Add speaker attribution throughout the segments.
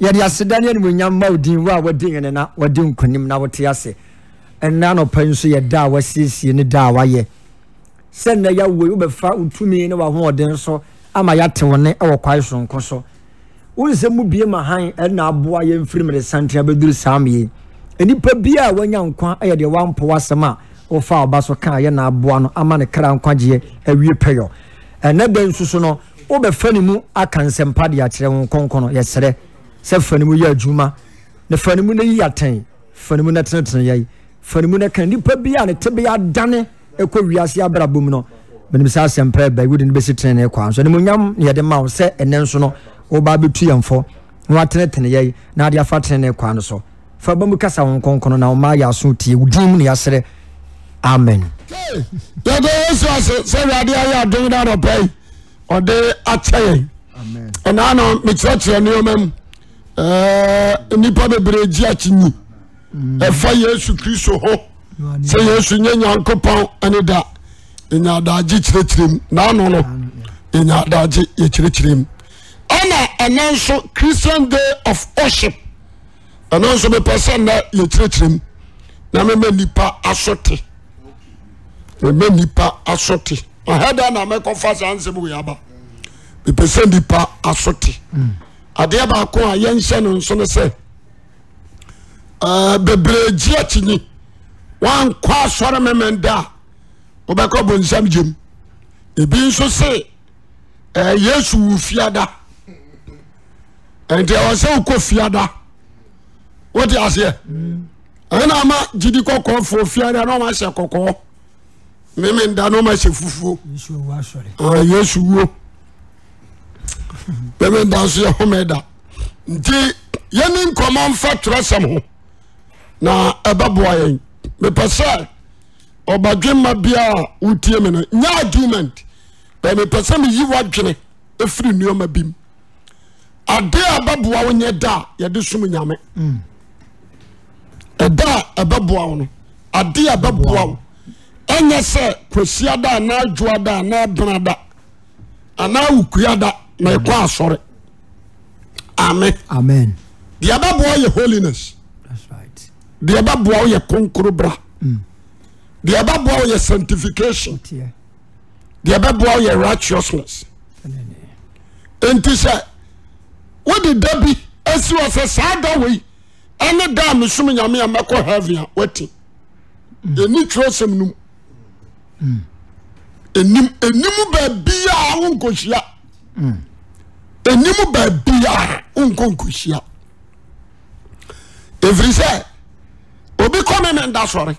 Speaker 1: yɛde aseda ne animonyam ma wo din wo a wadi nwene na wadi nkonim na wote ase ɛnna anɔpa yi nso yɛ da a wasiesie ne da a wayɛ sɛ nnɛ yɛawo yi wobɛfa wo tumi ne wahoɔden so ama yɛate wo ne wɔ kwae sonko so wo nsɛm mu bie ma han ɛna aboa yɛmfiri mmeresantea bɛduru saa mmee nnipa bi a wanya nkwa yɛ deɛ wampɔ w'asɛm a wofa ɔba so kaa yɛna aboa no ama ne kra nkwagyeɛ awie pɛyɔ ɛnɛ da nso so no wobɛfa ne mu aka nsɛmpa de akyerɛ wo nkɔnkɔn yɛserɛ sɛ fa ne mu yɛ adwuma na fa ne mu no yi atɛn fa ne mu no teneteneyɛi fa ne mu no ka nnipa bi a ne tebea adane ɛkɔ wiase abrabɔ mu no menim sɛ asɛmpa ba wode no bɛsi tenene kwan so nimonyam ne yɛde ma wo sɛ ɛnɛ nso no woba bɛtu yɛmfɔ na wateneteneyɛi na ade afa tenene kwan no so fa ba mu kasa wo nkɔnkɔn na woma yɛ aso tie wo din mu ne yɛserɛ amen
Speaker 2: yɛde yesu ase sɛ awurade ayɛ adom no anɔpa yi ɔde akyɛ yɛn ɛnaa no mekyerɛkyerɛ nneɔma mu ɛɛ, nnipa bebree gye akyinyi ɛfa yesu kristo ho sɛ yesu nyɛ nyankopɔn ne da ɛnya adagye kyerɛkyerɛm naano no ɛnya adagye yɛkyerɛkyerɛm ɛna ɛno nso christian day of worship ɛno nso mepɛ sɛ nnɛ yɛkyerɛkyerɛm na mema nnipa aso te mema nnipa aso te ɔhɛda na mɛkɔfa saa nsɛm wei aba mepɛ sɛ nnipa aso te adeɛ baako a yɛnhyɛ no nso no sɛ ɛɛ, bebree gye akyinyi woankɔ asɔre memenda a wobɛkɔ bonsam gyem ebi nso se ɛɛ, yesu wo fiada ɛnti ɛwɔ sɛ wokɔ fiada wote aseɛ ɛna ama gyidi kɔkɔɔfoɔ fiada na ɔmahyɛ kɔkɔɔ memenda na ɔmahyɛ fufuo Ah, yesu wuo bɛmɛ da so yɛ home da nti yɛne nkɔmmɔ mfa twerɛsɛm ho na ɛbɛboa yɛn mepɛ sɛ ɔbadwemma bia a wotie me no nyɛ argument but mepɛ sɛ meyi w'adwene ɛfiri nneɔma bi m ade a ɛbɛboa wo nyɛ da a yɛde som nyame ɛda a ɛbɛboa wo no ade a ɛbɛboa wo ɛnyɛ sɛ kwasia da anaa adwoa da anaa bena da anaa wokua da na ɛkɔ asɔre ame
Speaker 1: amen
Speaker 2: deɛ ɛbɛboa wo yɛ holiness
Speaker 1: that's right
Speaker 2: deɛ ɛbɛboa wo yɛ konkoro bra deɛ ɛbɛboa wo yɛ sanctification
Speaker 1: tie
Speaker 2: deɛ ɛbɛboa wo yɛ righteousness enti sɛ wode da bi asi wɔ sɛ saa da wei ɛne da a mesom nyame a mɛkɔ heaven a wati ɛni twerɛsɛm no mu ɛnim ɛnim baabiaa wonkɔhyia ɛnim baabiaa wonkɔ nkɔhyia ɛfiri sɛ obi kɔme me nda sɔre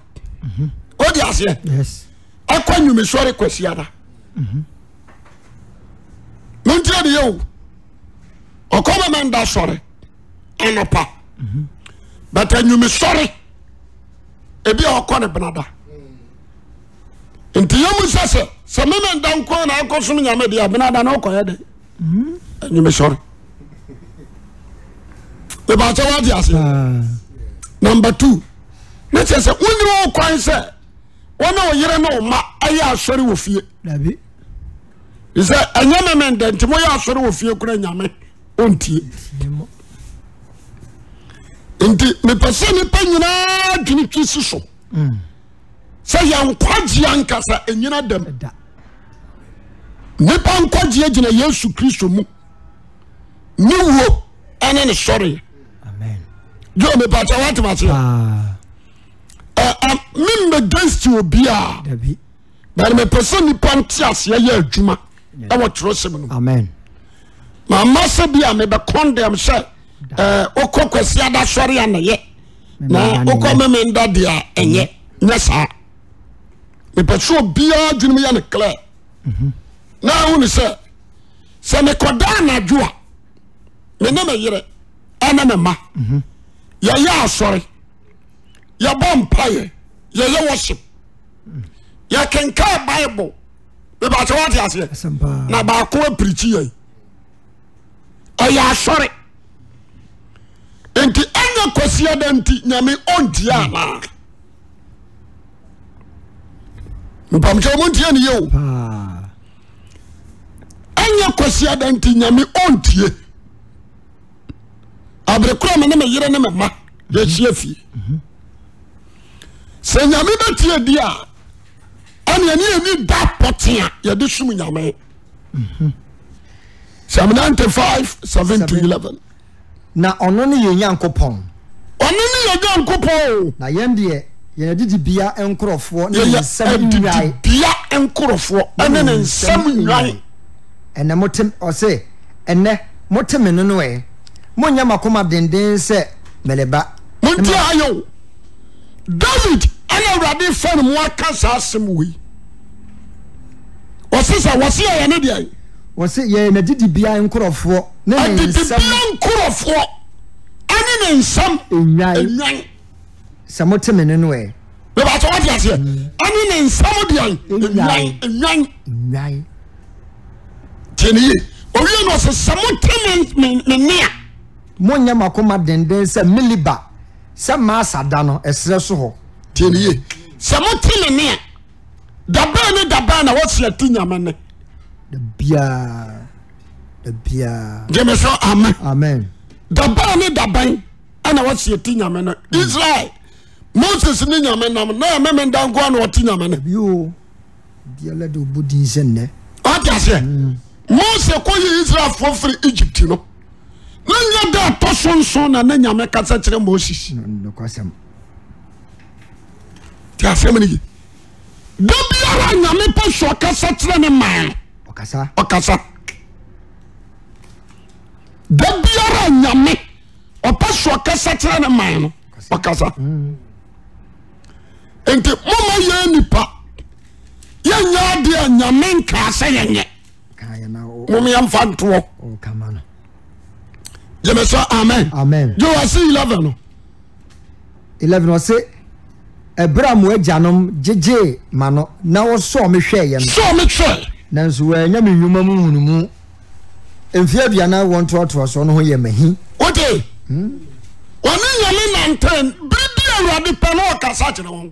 Speaker 2: ode aseɛ
Speaker 1: yes
Speaker 2: ɛkɔ nwumesɔre kwasiada mentirɛ de yɛo ɔkɔma ma nda sɔre anɔpa but anwumesɔre ebi a ɔkɔ ne benada nti yɛmu sɛ sɛ sɛ mema nda nko na akɔsom nyame deɛ a benada na ɔkɔyɛ dɛ anwumesɔre mebakyɛ woade aseɛ number two ne kyerɛ sɛ wonni wo kwan sɛ wɔne wo yere ne wo ma ɛyɛ asɔre wɔ fie
Speaker 1: dabi
Speaker 2: He sɛ ɛnyɛ me mendɛ nti moyɛ asɔre wɔ fie kora nyame ɔntie
Speaker 1: nemo
Speaker 2: nti mepɛ sɛ nnipa nyinaa dwene twi si so sɛ yɛnkwagyeɛ ankasa ɛnyina dam
Speaker 1: da
Speaker 2: nnipa nkwagyeɛ gyina yesu kristo mu ne wuo ɛne ne sɔreɛ
Speaker 1: amen
Speaker 2: jo mepɛkyɛ woatem aseɛ
Speaker 1: ah
Speaker 2: Ɛ, ɛ, memmɛ gansti obiaa
Speaker 1: dabi
Speaker 2: bɛne mepɛ sɛ nnipa nte aseɛ yɛ adwuma ɛwɔ kyerɛsɛm no mu
Speaker 1: amen
Speaker 2: mama sɛ bi a mebɛkɔndɛm sɛ eh, wokɔ kwasi ada sɔre a nɛyɛ na
Speaker 1: Memenda
Speaker 2: wokɔ
Speaker 1: neyɛ.
Speaker 2: memenda de a ɛnyɛ nyɛ saa mepɛ sɛ obiaa dwenem yɛ ne klɛ na wone sɛ sɛ mekɔda anadwo a me ne me yerɛ ɛne me ma yɛyɛ asɔre yɛbɔ mpayɛ yɛyɛ worship yɛkenkaa bible mebakyɛ woate aseɛ
Speaker 1: asɛm paa
Speaker 2: na baako apirikyi yɛn ɛyɛ asɔre nti ɛnyɛ kɔsia da nti nyame ɔntie anaa mpamkyɛ ɔmontie ne yeo
Speaker 1: paa
Speaker 2: ɛnyɛ kɔsia da nti nyame ɔntie abere kora me ne me yere ne me ma yɛhyia fie sɛ nyame bɛtie di a ɛne ɛne ani da pɔte a yɛde som nyame psalm 95 7 to
Speaker 1: Seven.
Speaker 2: 11
Speaker 1: na ɔno ne yɛn nyankopɔn
Speaker 2: ɔno ne yɛ nyankopɔn o
Speaker 1: na yɛn deɛ yɛn adidibea nkorɔfoɔ ne yɛn
Speaker 2: yɛyɛ
Speaker 1: nsɛm nnwae
Speaker 2: adidibea nkorɔfoɔ ɛne ne nsɛm nnwan
Speaker 1: ɛnɛ mote ɔse ɛnɛ mote me no no ɛ monyɛ makoma denden sɛ mereba
Speaker 2: monti ayɛ o david ɛne awurade fa no mu aka saa asɛm wei ɔse sɛ wɔse yɛyɛ ne deɛ
Speaker 1: wɔse yɛyɛ n'adidibea nkorɔfoɔ ne ne nsɛm
Speaker 2: adidibea nkorɔfoɔ ɛne ne nsɛm
Speaker 1: nnwae
Speaker 2: nwan
Speaker 1: sɛ mote me no no ɛ
Speaker 2: bɛbɛsɛ wɔte aseɛ ɛne ne nsɛm deɛ nwan
Speaker 1: Nnwan.
Speaker 2: nwan
Speaker 1: nnwae
Speaker 2: tiɛne ye owie no ɔse sɛ mote me- me me nne a
Speaker 1: monyɛ makoma denden sɛ meliba sɛ maasa da no ɛserɛ so hɔ
Speaker 2: tiɛne ye sɛ mote me nne a dabaa ne dabaa na wɔse ate nyame ne
Speaker 1: da biaa da biaa
Speaker 2: gye me so amen
Speaker 1: amen
Speaker 2: daban ne daban ɛna wɔsi ti nyame no israel moses ne nyame nam na ɛmɛ mi ndanko a na ɔti nyame no
Speaker 1: bio biala de obu din sɛ nnɛ
Speaker 2: ɔte aseɛ mose kɔyi israelfoɔ firi egypt no na nya da ɛtɔ so nson na ne nyame kasa kyerɛ moses
Speaker 1: nokwasɛm
Speaker 2: te asɛm no yi da biara nyame pɛ so ɔkasa kyerɛ ne maa no
Speaker 1: ɔkasa
Speaker 2: ɔkasa da biara nyame ɔpɛ so ɔkasa kyerɛ ne man no ɔkasa nti moma yɛ nipa yɛnyɛ adeɛ a nyame nkaa sɛ yɛnyɛ
Speaker 1: kaayɛ na wo-
Speaker 2: momyɛmfa ntoɔ
Speaker 1: ɔkama no
Speaker 2: gyeme sɛ amen
Speaker 1: amen
Speaker 2: gyewase 11 no
Speaker 1: 11 ɔse ɛberɛ a e mo agyanom gyegyee ma no na wɔsɔɔ me hwɛɛyɛ no
Speaker 2: sɛ mehwɛ
Speaker 1: nanso wɔanya me nnwuma mu hunumu mfie aduana wɔ ntoatoasoɔ no ho yɛ mahi
Speaker 2: wote ɔne nyame nantan bere bi a awurade pɛ na ɔkasa kyerɛ wɔn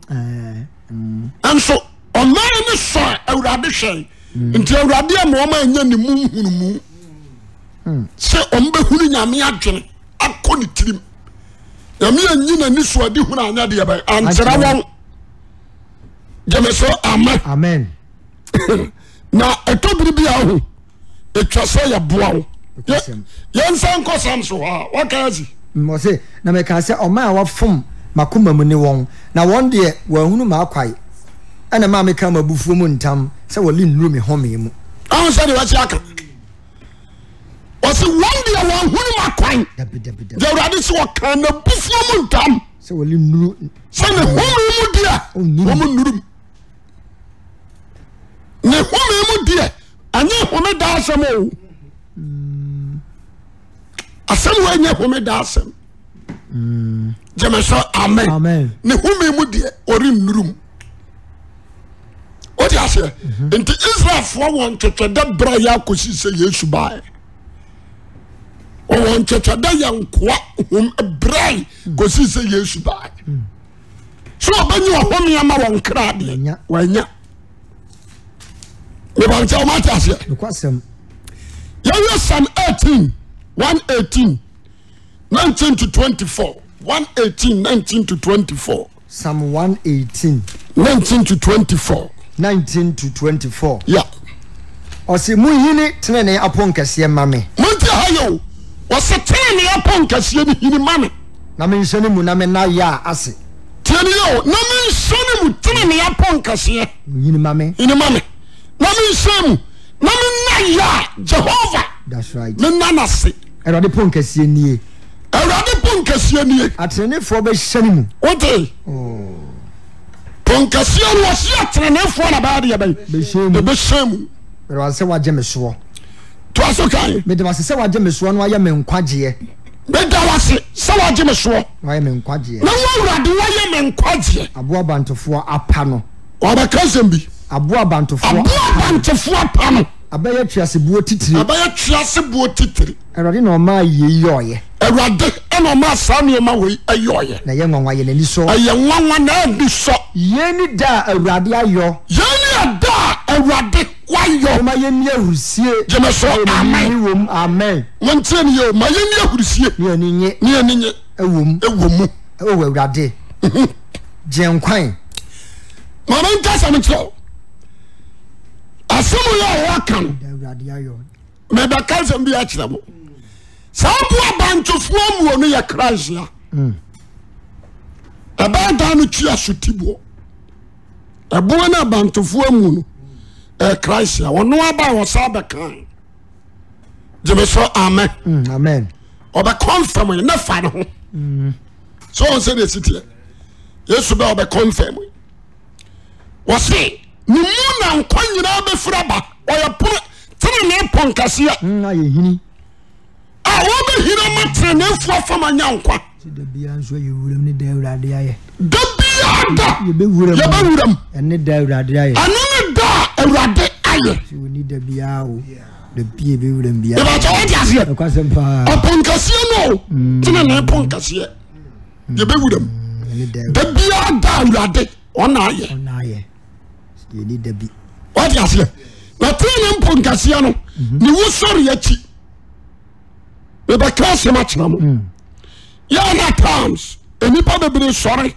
Speaker 1: Ɛɛ,
Speaker 2: nso ɔman ne sɔ awurade hwɛe nti awurade ama ɔma anya ne mu nhunumu sɛ ɔmbɛhunu nyame adwene akɔ ne tirim nyame anyi n'ani so ade hunu anya deɛ bɛ ankyerɛ
Speaker 1: Ankyerɛ
Speaker 2: wɔn gyeme so ama
Speaker 1: amen
Speaker 2: na ɛtɔ biri bi a ho ɛtwa sɛ yɛboa wo
Speaker 1: Ɛtwa sɛm.
Speaker 2: yɛnsa nkɔ sam so hɔ a waka asi
Speaker 1: Mm, ɔse na meka sɛ ɔma a wɔfom makoma mu ne wɔn na wɔn deɛ wɔahunu maakwae ɛna E ma meka mabufuo mu ntam sɛ wɔle nnuru me homee mu
Speaker 2: ahu sɛdeɛ wɔakyi aka ɔse wɔn deɛ wɔahunu ma kwan
Speaker 1: dabidabidabi
Speaker 2: deɛ awurade sɛ wɔka na bufuo mu ntam
Speaker 1: sɛ wɔle nnuru
Speaker 2: sɛ ne home mu deɛ
Speaker 1: Ɔnnurum.
Speaker 2: wɔm nnurum ne home mu deɛ ɛnyɛ home da asɛm o asɛm wɔ ɛnyɛ home da asɛm gyeme sɛ amen
Speaker 1: amen
Speaker 2: ne home mu deɛ ɔrennurum wode aseɛ nti israelfoɔ wɔ ntwetwɛda berɛ a yɛakɔsi sɛ yesu baɛ wɔwɔ ntwetwɛda yɛnkoa hom berɛ kɔsi sɛ yesu baɛ so ɔbɛnya ɔhome ma wɔn kra deɛ
Speaker 1: Wɔannya.
Speaker 2: wɔanya mebankyɛ womate aseɛ
Speaker 1: nokwasɛm
Speaker 2: yɛyɛ sam 18 118 19 to 24 118 19 to 24
Speaker 1: psalm 118
Speaker 2: 19 to 24
Speaker 1: 19 to 24
Speaker 2: ya
Speaker 1: ɔse muhini tenene apɔ nkɛseɛ ma me
Speaker 2: monti ha yɛ o wɔse tene ne yɛpɔ nkɛseɛ no hini ma me
Speaker 1: na menhyɛ no mu na mena yɛ a ase
Speaker 2: tiɛne yɛ o na menhyɛ ne mu tene ne yɛpɔ nkɛseɛ
Speaker 1: muhini ma me
Speaker 2: hini ma me na menhyɛ mu na mena yɛ a jehova
Speaker 1: that's right
Speaker 2: mena nase
Speaker 1: awurade pɔ nkɛseɛ nie
Speaker 2: awurade pɔ nkɛseɛ nie
Speaker 1: atenenefoɔ bɛhyɛ no mu
Speaker 2: wote pɔ nkɛseɛ no wɔse atenenefoɔ na baa deɛ bɛyɛ
Speaker 1: bɛhyɛ mu
Speaker 2: ɛbɛhyɛ mu
Speaker 1: awurade sɛ woagye me soɔ
Speaker 2: toa so kae
Speaker 1: mede wase sɛ woagye me soɔ na woayɛ me nkwagyeɛ
Speaker 2: meda wase sɛ wɔagye me soɔ
Speaker 1: na woayɛ me nkwagyeɛ
Speaker 2: na wo awurade wɔyɛ me nkwagyeɛ
Speaker 1: aboa abantofoɔ apa no
Speaker 2: wɔbɛka nsɛm bi
Speaker 1: aboa abantofoɔ
Speaker 2: aboa abantefoɔ apa no
Speaker 1: abɛyɛ tuasebuo titire
Speaker 2: abɛyɛ twease boɔ titiri
Speaker 1: awurade na ɔma yei yɛɔyɛ
Speaker 2: awurade ɛna ɔma saa nneɛma wei ɛyɛ ɔyɛ
Speaker 1: na yɛ nwanwa yɛ n'ani so
Speaker 2: ɛyɛ nwanwa na ani sɔ
Speaker 1: yei ni da a awurade ayɔ
Speaker 2: yɛn ne ɛda a awurade wayɔ
Speaker 1: ma yɛn mi ahurusie
Speaker 2: gyeme so amen
Speaker 1: wɔm amen
Speaker 2: wɔntere ne yɛ ma yɛni ahurusie
Speaker 1: ne ani nye
Speaker 2: ne yɛni nye
Speaker 1: ɛwɔm
Speaker 2: ɛwɔ mu
Speaker 1: ɛwɔ awurade gye nkwan
Speaker 2: mama nka sɛm kyerɛ wo asɛm yɛ a ɔwɔ ka no
Speaker 1: da awurade ayɔ
Speaker 2: mebɛka sɛm bi akyerɛ mo saa boa bantofoɔ muo no yɛ kra nhyia ɛbaa da no twi asotiboɔ ɛboa no abantofoɔ mu no ɛyɛ kra nhyia ɔno aba a wɔsa bɛkae gyeme so amɛ
Speaker 1: Mm, amen
Speaker 2: ɔbɛkɔmfɛm ne fa ne ho sɛ ɔn sɛ ne siteɛ yesu bɛ ɔbɛkɔmfɛm wɔ se ne mu na nkwa nyinaa bɛfiri ba ɔyɛ pono tenene pɔnkaseɛ
Speaker 1: Mm, ayɛ hini
Speaker 2: a wɔbɛhira ma tenenefoɔ fam anya nkwa
Speaker 1: ti da biara nso yɛ wuram ne da awurade ayɛ
Speaker 2: da biaa da
Speaker 1: yɛbɛ wuram
Speaker 2: yɛbɛwuram
Speaker 1: ɛne da awurade ayɛ
Speaker 2: ɛno ne da a awurade ayɛ
Speaker 1: ti wɔ ni da biara o da bie bɛ wuram biara
Speaker 2: yɛbɛkyɛ wɔde aseɛ
Speaker 1: ɛkwasɛm paa
Speaker 2: apɔnkaseɛ no o tenene pɔnkaseɛ yɛbɛwuram
Speaker 1: ɛne da
Speaker 2: da
Speaker 1: awurade
Speaker 2: biaa da awurade ɔna ayɛ
Speaker 1: ɔna ayɛ yɛ ni da bi
Speaker 2: wate aseɛ na tene mpo nkaseɛ no ne wo sɔre akyi mebɛka asɛm akyerɛ mo yɛna times nnipa bebree sɔre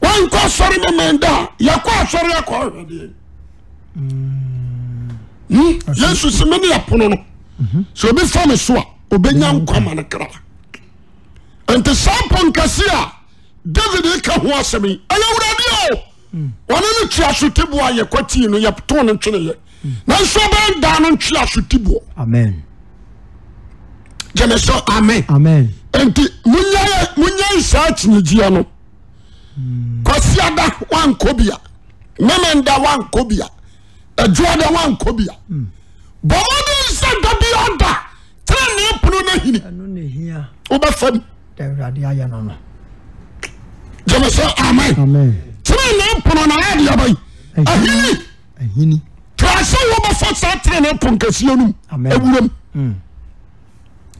Speaker 2: wankɔ sɔre memenda a yɛkɔ asɔre akɔhwɛdeɛ Hmm? yesu se me ne yɛpono no sɛ obi fa me so a obɛnya nkwa ma no kra nti saa mpo nkase a david ka ho asɛm yi ɛyɛ wurade o ɔne no twe asoteboɔ a yɛkɔtii no yɛtoo no tweneyɛ nanso ɔbɛndaa no ntwe asoteboɔ
Speaker 1: amen
Speaker 2: gyeme so amen
Speaker 1: amen
Speaker 2: nti monyɛ monyɛ saa kyinyegyia no kwasiada wankɔ bia memenda wankɔ bia adwoada wankɔ bia bɔmɔden sɛ da bia da tenene pono no hini
Speaker 1: ɛno na ehia
Speaker 2: wobɛfam
Speaker 1: da awurade ayɛ no no
Speaker 2: gyeme so amen
Speaker 1: amen
Speaker 2: tenene pono na adeɛ bai
Speaker 1: Ahini.
Speaker 2: ahini
Speaker 1: ahini
Speaker 2: kra sɛ wobɛfa saa tenene po nkɛseɛ no mu
Speaker 1: Amen.
Speaker 2: awuram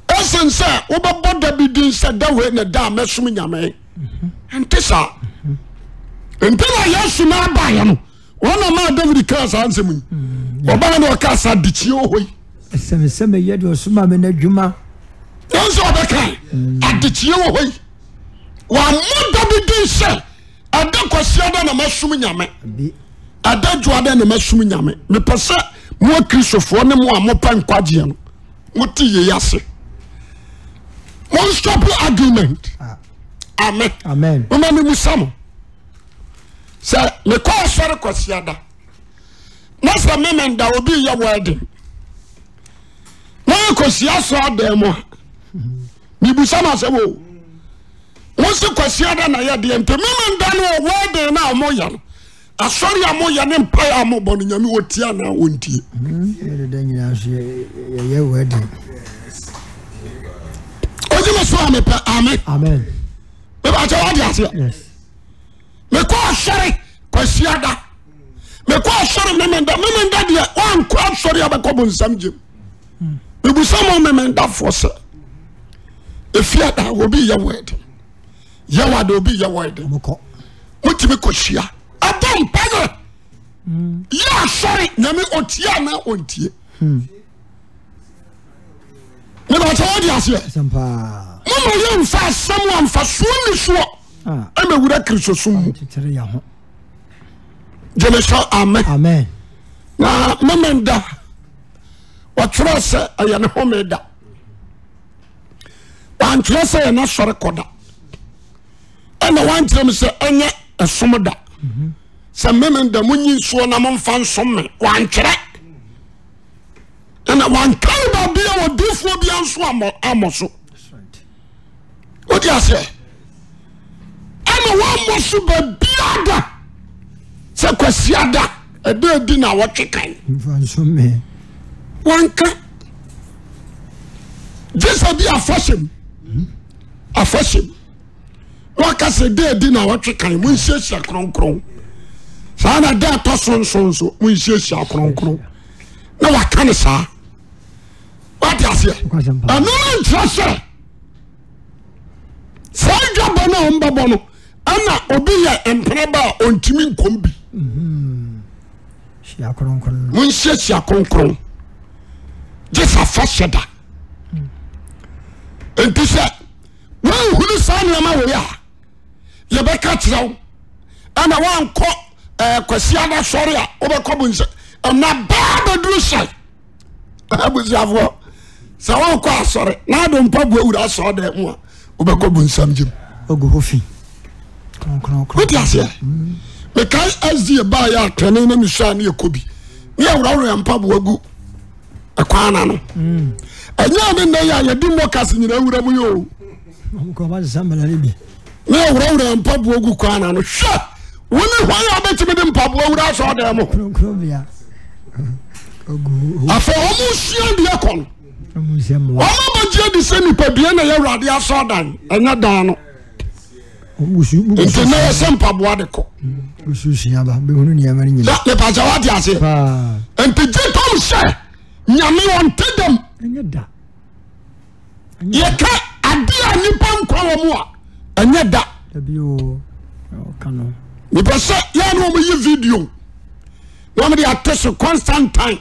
Speaker 2: ɛsen sɛ wobɛbɔ da bi din sɛ da wei ne da a mɛsom nyame ɛnte saa nti na yɛsu no abaeɛ no ɔna maa david kaa saa nsɛm yi ɔbaa ne ɔkaa saa dikyie ɔhɔ yi
Speaker 1: ɛsɛmesɛme yɛ deɛ ɔsoma me no adwuma
Speaker 2: ɛnsɛ ɔbɛkae adekyie wɔ hɔ yi wammɔ da bi din sɛ ɛda kwasiɛ da na mɛsom nyame
Speaker 1: bi
Speaker 2: ada dwoada na masom nyame mepɛ sɛ mo akristofoɔ ne mo a mopa nkwagyeɛ no mote yei ase monstop argument
Speaker 1: Ah.
Speaker 2: amen
Speaker 1: amen
Speaker 2: moma me musa mo sɛ mekɔ asɔre kwasiada na sɛ memenda obi yɛ wɔden na yɛkɔsia sɔɔ dan mu a mebusa no asɛm o wo se kwasiada na yɛdeɛ nti memenda no wɔden no a moyɛ no asɔre a moyɛ ne mpae a mobɔ no nyame wɔtie anaa wɔntie
Speaker 1: yɛdeda nyinaa so yɛ- yɛyɛ wɔadi
Speaker 2: ɔgyeme so a mepɛ ame
Speaker 1: amen
Speaker 2: mebakyɛ wode aseɛ
Speaker 1: yes
Speaker 2: mekɔ asɔre kwasiada mekɔ asɔre memenda memenda deɛ wankɔ asɔre a bɛkɔ bonsam gyem mebusa ma memendafoɔ sɛ ɛfiada obi yɛ wɔɛde yɛwade obi yɛ wɔɛde
Speaker 1: mokɔ
Speaker 2: motumi kɔhyia ɛbɔ mpayɛ yɛ asɔre nyame ɔtie ana ɔntie mebakyɛ wode aseɛ
Speaker 1: asɛm paa
Speaker 2: moma yɛmfa asɛm a mfasoɔ ni soɔ
Speaker 1: Ah,
Speaker 2: ɛmɛwura kristosom mu
Speaker 1: tetere yɛ ho
Speaker 2: gyeme sɛ amɛ
Speaker 1: amen
Speaker 2: na memenda wɔtwerɛ sɛ ɛyɛ ne home da wantwerɛ sɛ ɛyɛ n'asɔre kɔ da ɛna wankyerɛ m sɛ ɛnyɛ ɛsom da sɛ memenda monyi nsuo na momfa nsom me wankyerɛ ɛna wankane baabia wɔdifoɔ bia nso ammɔ- ammɔ so wode aseɛ ɛna woammɔ so baabia da sɛ kwasia da ɛda adi na wɔtwe kan
Speaker 1: mfa nsom me
Speaker 2: wanka jesu bi afɔhyɛm afɔhyɛm waka sɛ da adi na wɔtwe kan mo nhyiahyia kronkron saa na da atɔ so nso nso mo nhyiahyia kronkron na waka ne saa wate aseɛ
Speaker 1: Kwasɛm
Speaker 2: ɛno
Speaker 1: paa
Speaker 2: no nkyerɛ sɛ saa dwabɔ no a ɔmbɛbɔ no ɛna obi yɛ mpena ba a ɔntimi nkom bi
Speaker 1: hyia kronkron no
Speaker 2: monhyiahyia kronkron gye sɛ afa hyɛ da enti sɛ woanhunu saa nneɛma wei a yɛbɛka kyerɛ wo ana woankɔ eh, kwasi ada sɔre a wobɛkɔ bonsɛ ɛna baa bɛduru hyɛ abusuafoɔ sɛ wonkɔ asɔre na adompa bua wura asɔre dɛ mu a wobɛkɔ bonsam gyem
Speaker 1: ogu hɔ fi kronkronkron
Speaker 2: wote aseɛ mekae asd baa yɛ atwɛne na mesua ne yɛkɔ bi ne yɛwurawura mpaboa gu ɛkwan na no ɛnyɛ ne nnɛ yɛ a yɛde mɔkas nyina wura mu yɛ o
Speaker 1: nkɔba sesa mmala no bi
Speaker 2: ne yɛwurawura mpaboa gu kwan na no hwɛ wo ne hwan a wobɛtumi de mpaboa wura asɔɔdan mu
Speaker 1: kronkron bea ogu hɔ
Speaker 2: afei ɔmo sua deɛ kɔ no
Speaker 1: mu nsɛ mmoa
Speaker 2: ɔmo abɛgye adi sɛ nipadua na yɛwurade asɔɔdan ɛnyɛ dan no nti na yɛsɛ mpaboa de kɔ
Speaker 1: gususua ba bɛhunu nneɛma no nyina
Speaker 2: na nepagya woate aseɛ
Speaker 1: paa
Speaker 2: nti gye tom sɛ nyame wɔnte dam
Speaker 1: ɛnyɛ da
Speaker 2: yɛka ade a nipa nkwa wɔ mu a ɛnyɛ da
Speaker 1: dabi o ɔka no
Speaker 2: mepɛ sɛ yɛ ne ɔmyɛ video na ɔmde ato so constantine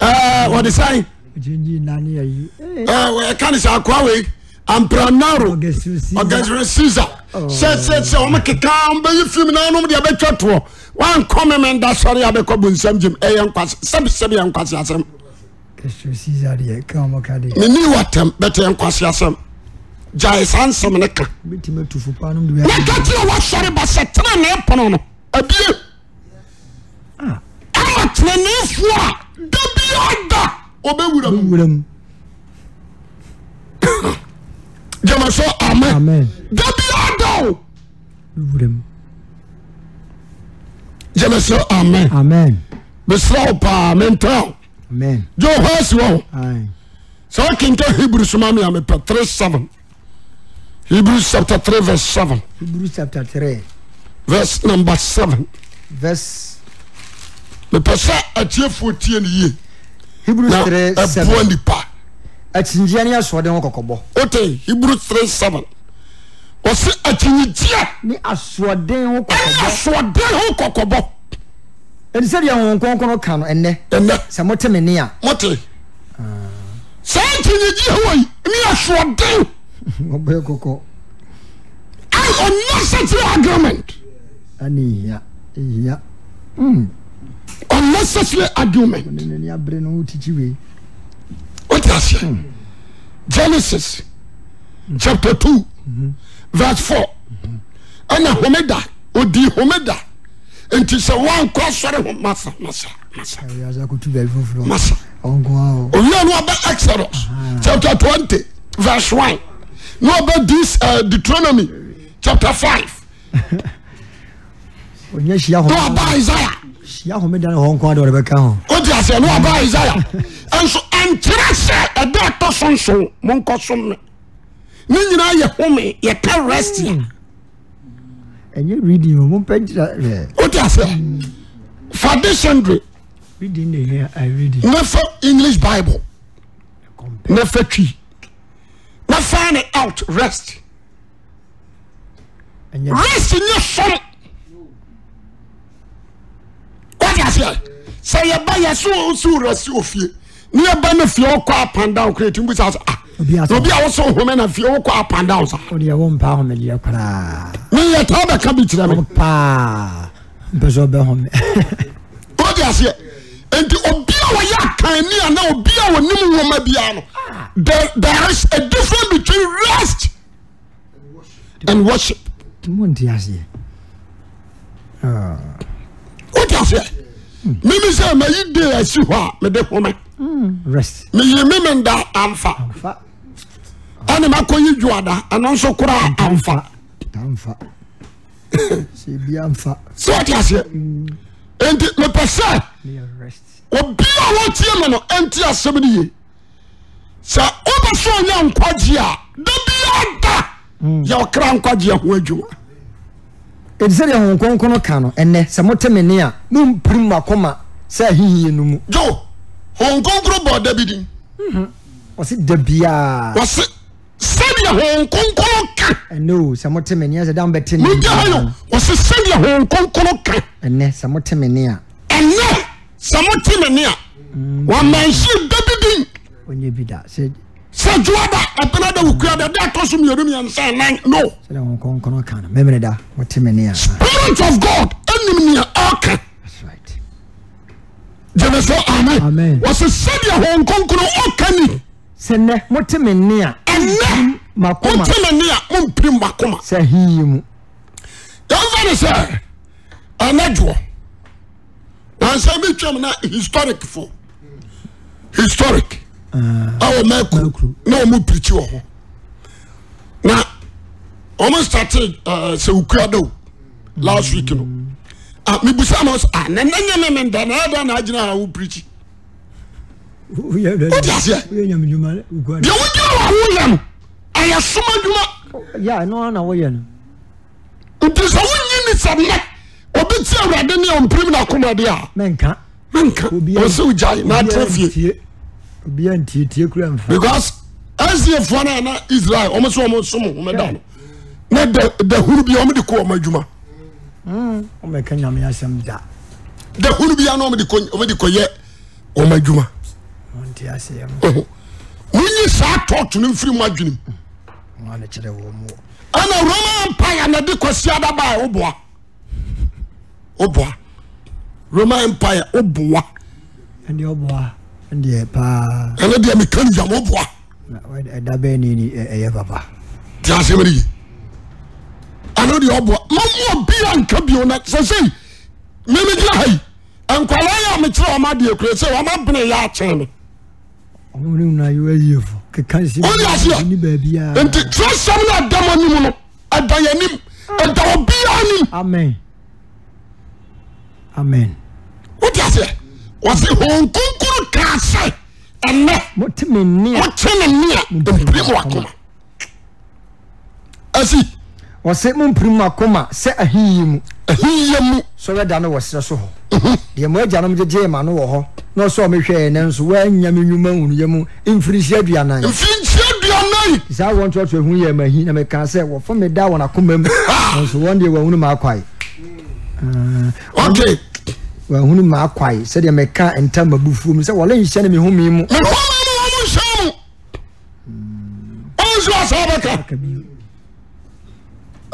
Speaker 2: Eh, wɔde sae
Speaker 1: ɔkyɛngyi na ne ayi
Speaker 2: eh, ɛka ne sɛ akoa wei ampranaro
Speaker 1: ɔgɛsrɛsi
Speaker 2: ɔgasere caesar sɛsɛsɛ ɔm keka ɔmbɛyɛ film na nom de abɛtwa toɔ wankɔ me menda sɔre a bɛkɔ bonsam gyem ɛyɛ nkwase sɛbsɛb yɛ nkwase asɛm
Speaker 1: zadeɛ ka ɔmɔka de
Speaker 2: meni wɔtɛm bɛtɛ yɛ nkwase asɛm gyae saa nsɛm ne ka
Speaker 1: wobɛtumi atufo paa nom
Speaker 2: na ka kyerɛ wasɔre ba sɛ tena ne pono no abie ama tenaneefoɔ a da bia da ɔbɛwura mu
Speaker 1: dewuram
Speaker 2: gyama so amen
Speaker 1: amen
Speaker 2: da bia da o
Speaker 1: wuram
Speaker 2: gyama so amen
Speaker 1: amen
Speaker 2: mesrɛ wo paa mentɔ wo
Speaker 1: amen
Speaker 2: gye hɔ asi wɔ
Speaker 1: ae
Speaker 2: sɛ wokenka hebrew soma me a mepɛ 37 hebrew chapter 3 verse 7
Speaker 1: hebrews chapter 3
Speaker 2: verse number 7
Speaker 1: verse
Speaker 2: mepɛ sɛ atiefoɔ tie ne yie
Speaker 1: hebrews
Speaker 2: na
Speaker 1: 3
Speaker 2: ɛboa
Speaker 1: 7
Speaker 2: nipa
Speaker 1: akyingyea ne asoɔden ho kɔkɔbɔ
Speaker 2: wote hebrew 3 7 ɔse akyinyigyeɛ
Speaker 1: ne asoɔden ho
Speaker 2: ɛne
Speaker 1: kɔkɔbɔ
Speaker 2: asoɔden ho kɔkɔbɔ
Speaker 1: ɛni sɛdeɛ honhom kronkron no ka no ɛnnɛ
Speaker 2: ɛnɛ
Speaker 1: sɛ mote me nne a
Speaker 2: mote saa ntinyigye hɔ yi ne asoɔden
Speaker 1: ɔbɛyɛ kɔkɔ
Speaker 2: an unnecessary argument
Speaker 1: ane hia hia
Speaker 2: unnecessary argument
Speaker 1: ne nani abere no wotikyi wei
Speaker 2: wote aseɛ genesis chapter 2 verse 4 ɛna homeda odi homeda nti sɛ woankɔ asɔre ho masa masa masa
Speaker 1: ɛwiase akɔtu baabi foforɔ
Speaker 2: masa
Speaker 1: ɔnko a o
Speaker 2: owia no ɔbɛ exodus chapter twenty verse one na ɔbɛ dis uh, deuteronomy chapter five
Speaker 1: ɔnya hyia
Speaker 2: na ɔbɛ
Speaker 1: hɔ
Speaker 2: isaiah
Speaker 1: hyia homeda ne hɔ nko a de ɔde bɛka ho
Speaker 2: o ti ase na ɔbɛ isaiah nso ɛnkyerɛ sɛ ɛdɛ ɛtɔ so nso mo nkɔ so mi ne nyinaa yɛ home yɛ ka rest yɛ
Speaker 1: ɛnyɛ reading o mompɛ nkyerɛ ɛ,
Speaker 2: o ti ase fa dictionary
Speaker 1: reading ne hia i reading
Speaker 2: ne fa english bible
Speaker 1: compare
Speaker 2: ne fa twi na fa ne out rest
Speaker 1: ɛnyɛ
Speaker 2: rest nyɛ som wode aseɛ sɛ yɛba yɛ so so rest ofie ne yɛba no fie wokɔ apandown krɛtim bu sa sɛ ah
Speaker 1: Obi asa.
Speaker 2: obi a wosɛ home na fie wokɔ apandown sa
Speaker 1: ɔde ɛwɔ mpa homedeɛ koraa
Speaker 2: meyɛtaa bɛka bi kyerɛ me
Speaker 1: paa mpɛ sɛ ɔbɛ home
Speaker 2: wode aseɛ enti obi a wɔyɛ akani a na obi a wɔnim nwoma biara no there, there is a difference between rest and worship
Speaker 1: nti monte aseɛ Ah,
Speaker 2: wode aseɛ mimi sɛ mayi de asi hɔ a mede home
Speaker 1: rest
Speaker 2: meyi me menda amfa
Speaker 1: fa
Speaker 2: ɛne makɔyi dwoada ɛno nso koraa amfa
Speaker 1: tamfa sɛ bia mfa
Speaker 2: sɛ wote aseɛ enti mepɛ sɛ
Speaker 1: ne yɛ rest
Speaker 2: obi a wɔtie me no ɛnte asɛm no ye sɛ wobɛ sɛ ɔnya nkwagye a da bia da yɛwɔ kra nkwagye ho adwuma
Speaker 1: ɛti sɛdeɛ honhom kronkron no ka no ɛnnɛ sɛ mote me nne a mompirim mo akoma sɛ ahihie no mu
Speaker 2: jo honkonkro bɔɔ da bi din
Speaker 1: ɔse da biaa
Speaker 2: wɔse sɛdeɛ honkonkro ka
Speaker 1: ɛnɛ o sɛ mote me nne a sɛ da mobɛte ne Hmm.
Speaker 2: mogya ha yo wɔse sɛdeɛ honkonkro ka
Speaker 1: ɛnɛ sɛ mote me nne a
Speaker 2: ɛnɛ sɛ mote me ne a wɔmanhye da bibin
Speaker 1: onye bi da sɛ
Speaker 2: sɛ dwoada ɛpena da wokua da da ɛtɔ so mmienu mmiɛnsa nan no
Speaker 1: sɛdɛ wɔn kɔnkɔn kan no mɛmɛrɛ da wɔte mɛ ne a
Speaker 2: parent of god anim nea ɔka
Speaker 1: Ah, that's right
Speaker 2: gyeme so amen
Speaker 1: Amen.
Speaker 2: wɔse sɛdeɛ hɔ nkonkoro ɔka ni
Speaker 1: sɛ nɛ mote mɛ ne a
Speaker 2: ɛnɛ
Speaker 1: ma kɔma
Speaker 2: wote me ne a mompiri makoma
Speaker 1: sɛ hin yi mu
Speaker 2: yɛmfa ne sɛ anadwoɔ nansa bɛtwam na historic fo historic awɔ maku
Speaker 1: Mercury.
Speaker 2: na ɔmu pirikyi wɔ hɔ na ɔmo starte eh, sɛ wokura do last week no Ah, mebusa ma sɛ nana nyɛ me menda na ɛda na agyina a wo pirikyi
Speaker 1: woyɛ
Speaker 2: Wote aseɛ?
Speaker 1: nyame dwuma ugua
Speaker 2: deɛ wogyina wɔ wo yɛ no ɛyɛ som adwuma
Speaker 1: yɛ ɛno ara na woyɛ no
Speaker 2: nti sɛ wonyi ne sɛ nnɛ obi ti awurade ne ɔmpirim na akomade a
Speaker 1: mɛnka
Speaker 2: menka
Speaker 1: Obiara-
Speaker 2: ɔsɛ wogyae na atena fie
Speaker 1: obia ntie tie kura mfa
Speaker 2: because asiefoɔ no ana israel ɔmo sɛ ɔmo som homeda no na da da hunu bia ɔmo de kɔ ɔmo adwuma
Speaker 1: ɔmɛka nyame asɛm da
Speaker 2: da hunu bia na ɔmo de kɔ ɔmo de kɔyɛ ɔmo adwuma
Speaker 1: ɔnte aseɛ mu
Speaker 2: Ɛhɔ. monyi saa tɔɔto no mfiri mu adwenem
Speaker 1: ɔane kyerɛ wɔ mu wɔ
Speaker 2: ɛna roman empire na de kɔsi adaba a woboa woboa roman empire woboa
Speaker 1: ɛndeɛ ɔboa ɛndeɛ paa
Speaker 2: ɛno deɛ meka no yam woboa
Speaker 1: na ɔyɛ- ɛda bɛɛ ne ni ɛ- ɛyɛ papa
Speaker 2: te asɛm ne yi ɛno deɛ ɔboa ma moa bia nka bio na sɛ sei memegyina ha yi nkwala yɛ a mekyerɛ ɔma deɛ kura sɛ ɔma bene yɛ akyɛn me
Speaker 1: ɔmo ne nyinaa yɛ ayiefo keka nsi
Speaker 2: Ɔne aseɛ.
Speaker 1: ni baabiaa
Speaker 2: nti kyerɛ sɛm no ɛda mo anim no ɛda yɛ anim ɛda ɔbia anim
Speaker 1: amen amen
Speaker 2: wote aseɛ wɔse honkonkoro kaa sɛ ɛnɛ
Speaker 1: mote me nne a
Speaker 2: mokyɛ ne nne a mpire mo akoma asi
Speaker 1: ɔse mompiri mu akoma sɛ ahenyi mu
Speaker 2: ahiyɛ mu
Speaker 1: sɔrɔ da no wɔ serɛ so hɔ deɛ mo agyanom gyegyee ma no wɔ hɔ na ɔsɛ ɔmehwɛɛ ne nso woanya me nnwuma hunuyɛ mu mfirinhyia aduanan
Speaker 2: mfirinhyia aduanan
Speaker 1: saa wɔn toatoa hu yɛ mahi na mekaa sɛ wɔfa me da wɔn akoma mu nanso wɔn deɛ wɔahunu maakwae
Speaker 2: ok
Speaker 1: wɔahunu maakwae sɛdeɛ meka ntam abufuo mu sɛ wɔle nhyɛ no me home mu
Speaker 2: mehoma mu wɔ mo nhyɛ mu ɔnso asa bɛka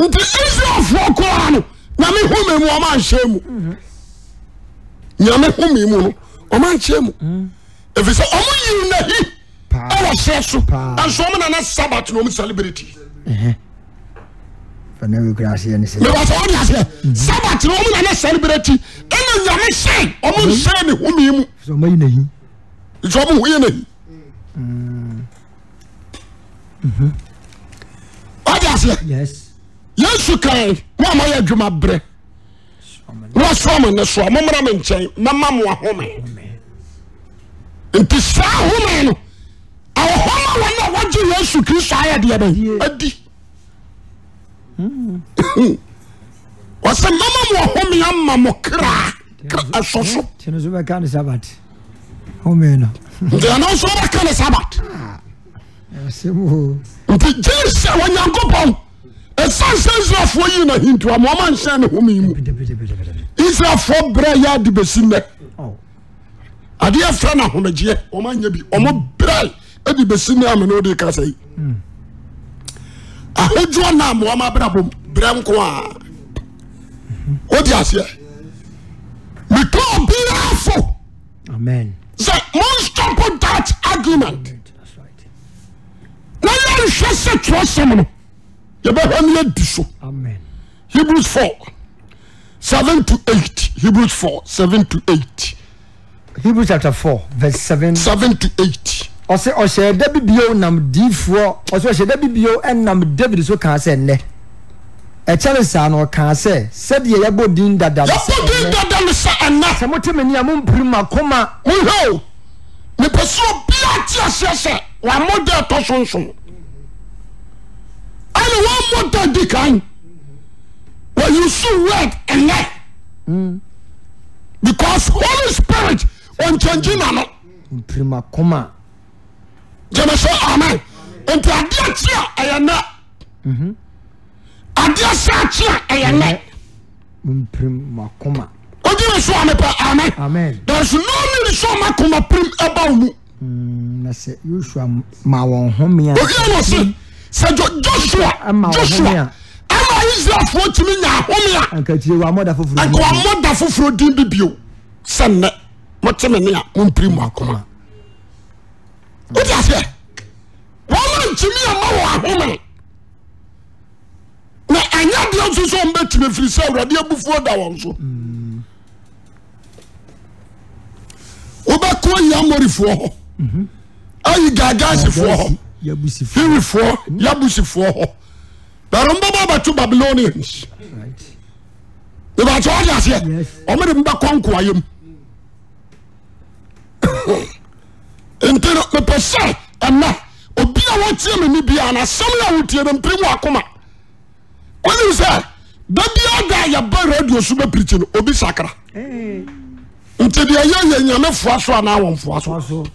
Speaker 2: nti israelfoɔ koraa no nyame home mu ɔma nhyɛ mu nyame home mu no ɔma nhyɛ mu ɛfiri sɛ ɔmo yiw nahi
Speaker 1: Paa.
Speaker 2: ɛwɔ hyɛ so
Speaker 1: Paa.
Speaker 2: ɛnso ɔmo nana sabat na ɔmo celebrity
Speaker 1: fɛnɛ wei kura aseɛ ne sɛ
Speaker 2: meba sɛ ɔde aseɛ sabat na ɔmo nana celebrity ɛna nyame hyɛ ɔmo nhyɛ ne home mu
Speaker 1: sɛ ɔmayi nahi
Speaker 2: nti ɔmo ho yɛ nahi ɔde aseɛ
Speaker 1: yes
Speaker 2: yesu kan mo a mo yɛ adwuma berɛ na wɔsoa mo ne soa mommra me nkyɛn mɛma mo ahome nti saa home no awɔhɔma wɔn a wɔgye yesu kristo ayɛ deɛ bɛn
Speaker 1: Die.
Speaker 2: adi wɔsɛ mɛma mo ahome ama mo kra kra- ɛsɔ so
Speaker 1: nti no so bɛka ne sabat home no
Speaker 2: nti ɛno nso wɔbɛka ne sabat
Speaker 1: asɛm o
Speaker 2: nti gye sɛ wɔnyankopɔn ɛsiane sɛ israelfoɔ yii no ahintoa ma ɔma nhyɛ ne home yi mu
Speaker 1: pidapidapidapida
Speaker 2: israelfoɔ berɛ yɛ ade bɛsi nnɛ
Speaker 1: ɔ
Speaker 2: adeɛ fɛ no ahomegyeɛ ɔma nya bi ɔmo berɛ ɛde bɛsi ne amene wode ka sɛ yi ahodwoɔ na mmoa ma brabɔ berɛ nko a wode aseɛ meka obiaa fo
Speaker 1: amen
Speaker 2: sɛ monstop that argument
Speaker 1: that's right
Speaker 2: na yɛnhwɛ sɛ twerɛsɛm no yɛbɛhwɛ no yɛdi so
Speaker 1: amen
Speaker 2: hebrews 4 7 to 8 hebrews 4 7 to 8
Speaker 1: hebrew chapter four verse seven.
Speaker 2: 7 to 8
Speaker 1: ɔsɛ ɔhyɛ da bibio nam diifoɔ ɔsɛ ɔhyɛ da bibio ɛnam david so kaa sɛ nnɛ ɛkyɛre saa E no ɔkaa sɛ sɛdeɛ yɛbɔ din dada no sɛ
Speaker 2: yɛbɔ din
Speaker 1: ɛnnɛ,
Speaker 2: dada no sɛ ɛna
Speaker 1: sɛ mote me nea mompiri ma koma
Speaker 2: wohwɛ o mepɛ sɛ obia te aseɛ sɛ wammɔda ɛtɔ so nson ɛne wammɔda di kan wɔyusu word ɛnɛ
Speaker 1: Hmm.
Speaker 2: because holy spirit ɔnkyɛngyi na no
Speaker 1: mpiri ma koma
Speaker 2: gyeme sɛ amen nti adeɛ kye a ɛyɛ nɛ
Speaker 1: Mhm.
Speaker 2: adeɛ sɛ akye a ɛyɛ nɛ
Speaker 1: mpiri ma koma
Speaker 2: ɔgye nyina so a mepɛ amen
Speaker 1: amen
Speaker 2: there is no need sɛ ɔma koma pirim ɛba wo mu
Speaker 1: Mm, na sɛ yosua ma wɔn home a
Speaker 2: ohia no se sɛ jo-
Speaker 1: Ɛma
Speaker 2: joshua
Speaker 1: wo
Speaker 2: joshua
Speaker 1: home
Speaker 2: ama israelfoɔ tumi nya ahome a
Speaker 1: anka tie wɔ amɔda foforɔ bi
Speaker 2: anka wɔmmɔda foforɔ din bi bio sɛ nnɛ mote me ne a mompiri mu akoma wode aseɛ wɔma ntumi ama wɔ ahome na ɛnyɛ deɛ nso sɛ ɔmbɛtumi firi sɛ awurade abufuo da wɔn so wobɛko ayi amorifoɔ hɔ ayi gagasifoɔ hɔ
Speaker 1: yabusifoɔ
Speaker 2: hirifoɔ yabusifoɔ hɔ bɛrembɛbɔ bɛto babylonians
Speaker 1: right
Speaker 2: ìbàtí ọjà seɛ
Speaker 1: Yes.
Speaker 2: ɔmo de mbɛ kɔ nkoa yam nti no mepɛ sɛ ɛnɛ obi a wɔtie me ni bia na asɛm a wotie no mpiri mu akoma wonim sɛ da bia da a yɛba radio so bɛpirikyi no obi sakra
Speaker 1: ɛɛ
Speaker 2: nti deɛ yɛyɛ nyame foa so anaa wɔmfoa so
Speaker 1: waso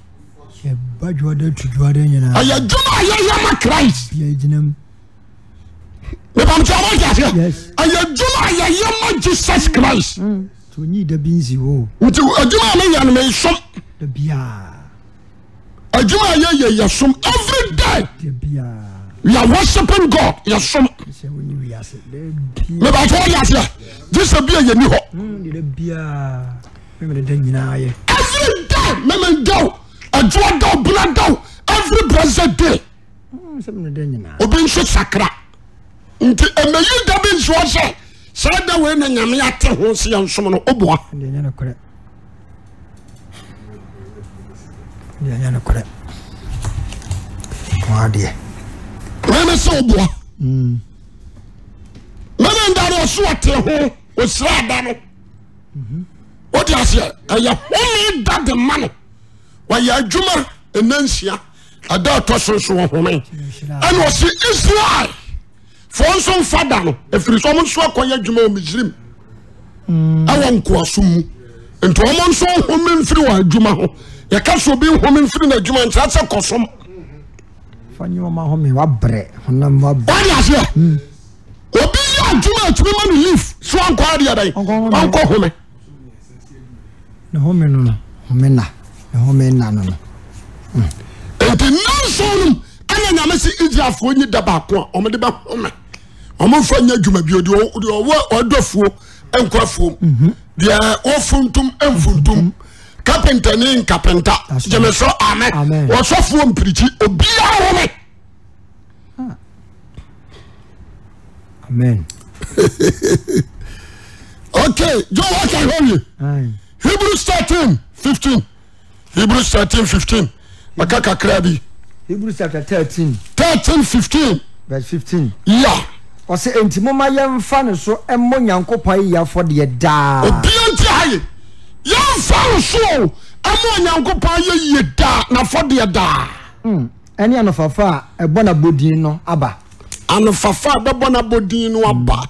Speaker 1: yɛba dwoɔda tu dwoɔda nyinaa
Speaker 2: ɛyɛ dwuma a yɛyɛ ma christ
Speaker 1: bia gyina mu
Speaker 2: mepamkyɛ ɔmɔgya seɛ
Speaker 1: Yes.
Speaker 2: ɛyɛ dwuma a yɛyɛ ma jesus christ
Speaker 1: nti onyi da bi nsi hɔ o
Speaker 2: nti adwuma a meyɛ no mesom
Speaker 1: da biaa
Speaker 2: adwuma a yɛyɛ yɛsom every day
Speaker 1: da biaa
Speaker 2: we are worshiping God yɛsom
Speaker 1: sɛ woni wiase da biaa
Speaker 2: mebato wɔde aseɛ gye sɛ bia yɛni hɔ
Speaker 1: Mm, de da biaa memene da nyinaa yɛ
Speaker 2: every day memendaw adwoa daw bena daw every blessed day
Speaker 1: Mm, sɛ mene da nyinaa
Speaker 2: obi nso sakra nti ɛmayi da bi nso hɔ sɛ saa da wei na nyame ate ho sɛ yɛnsom no woboa
Speaker 1: deɛ nyɛ nokorɛ deɛ nyɛ nokorɛ wadeɛ
Speaker 2: meme sɛ woboa memenda no ɔso ɔte ho ɔsira da no wode aseɛ ɛyɛ home da de ma no wɔyɛ adwuma ɛnansia ada a ɛtɔ so nso wɔ home
Speaker 1: Nhyira.
Speaker 2: ɛne ɔse israel foɔ nso mfa da no ɛfiri sɛ ɔmo nso akɔyɛ adwuma wɔ misrim ɛwɔ nkoaso mu nti ɔmo nso home mfiri wɔ adwuma ho yɛka sɛ obi home mfiri no adwuma nkyerɛ sɛ kɔsom
Speaker 1: fa nyɛ ɔma home wabrɛ honam wabrɛ
Speaker 2: wade aseɛ
Speaker 1: Hmm.
Speaker 2: obi yɛ adwuma atumi ma no leaf so ankɔ adeɛ dɛn
Speaker 1: Ɔnkɔ home.
Speaker 2: ɔnkɔ home
Speaker 1: ne home no no home na ne home na no no
Speaker 2: nti nanson nom ɛna nyame se israelfoɔ nyi da baako a ɔmode bɛhome ɔmomfa nyɛ adwuma bio deɛ ɔ- deɛ ɔdɔfuo ɛnkɔ
Speaker 1: Mhm.
Speaker 2: afuom deɛ ɔfuntum ɛmfuntum kapenta ne nkapenta
Speaker 1: That's
Speaker 2: gyeme
Speaker 1: right.
Speaker 2: so amɛ
Speaker 1: Amen.
Speaker 2: wɔsɔfoɔ mpirikyi obiara home
Speaker 1: amen
Speaker 2: ok jo wɔka hɔwie
Speaker 1: Aye.
Speaker 2: hebrews 13 15 hebrews 13 15 maka kakra bi
Speaker 1: hebrews chapter 13
Speaker 2: 13 15
Speaker 1: verse 15
Speaker 2: ya
Speaker 1: ɔsɛ enti moma yɛmfa no so ɛmmɔ nyankopɔn yiyafɔ deɛ daa
Speaker 2: obia nti aye yɛmfa wo so o ama onyankopɔn yɛ yie daa nafɔdeɛ daa
Speaker 1: Mm, ɛne anɔfafa a ɛbɔ no abɔdin no aba
Speaker 2: anofafa a bɛbɔ no abɔdin no aba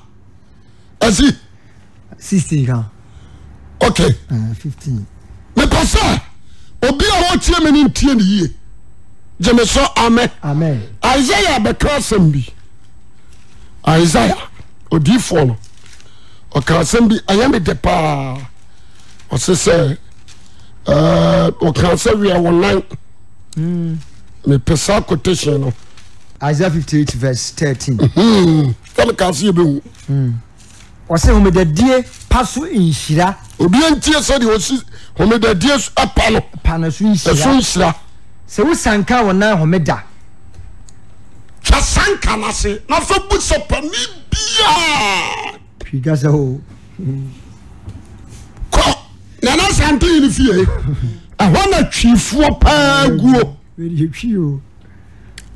Speaker 2: asi
Speaker 1: Uh, 16 ka
Speaker 2: ok
Speaker 1: Ah, 15
Speaker 2: mepɛ sɛ obi a wɔtie me no ntie no yie gye me so amɛ
Speaker 1: amen
Speaker 2: isaia bɛka asɛm bi isaia odiifoɔ no ɔka asɛm bi ɛyɛ me de paa ɔse sɛ ɛɛ, ɔka sɛ wia wo nan mepɛ saa kotation no
Speaker 1: isaia 58 verse 13
Speaker 2: Hmm, sɛ meka se yɛbɛhu
Speaker 1: ɔsɛ homedadie pa so nhyira
Speaker 2: obia ntie sɛdeɛ ɔsi homedadie so apa no
Speaker 1: pa no so
Speaker 2: ɛso
Speaker 1: nhyira
Speaker 2: nhyira
Speaker 1: sɛ wosanka wo nan homeda
Speaker 2: twa sanka no ase na fa bu sɛ pani biaa
Speaker 1: twiga sɛ o
Speaker 2: kɔ nana sante yi no fie ɛhɔ na twifoɔ paa guo
Speaker 1: yɛtwi o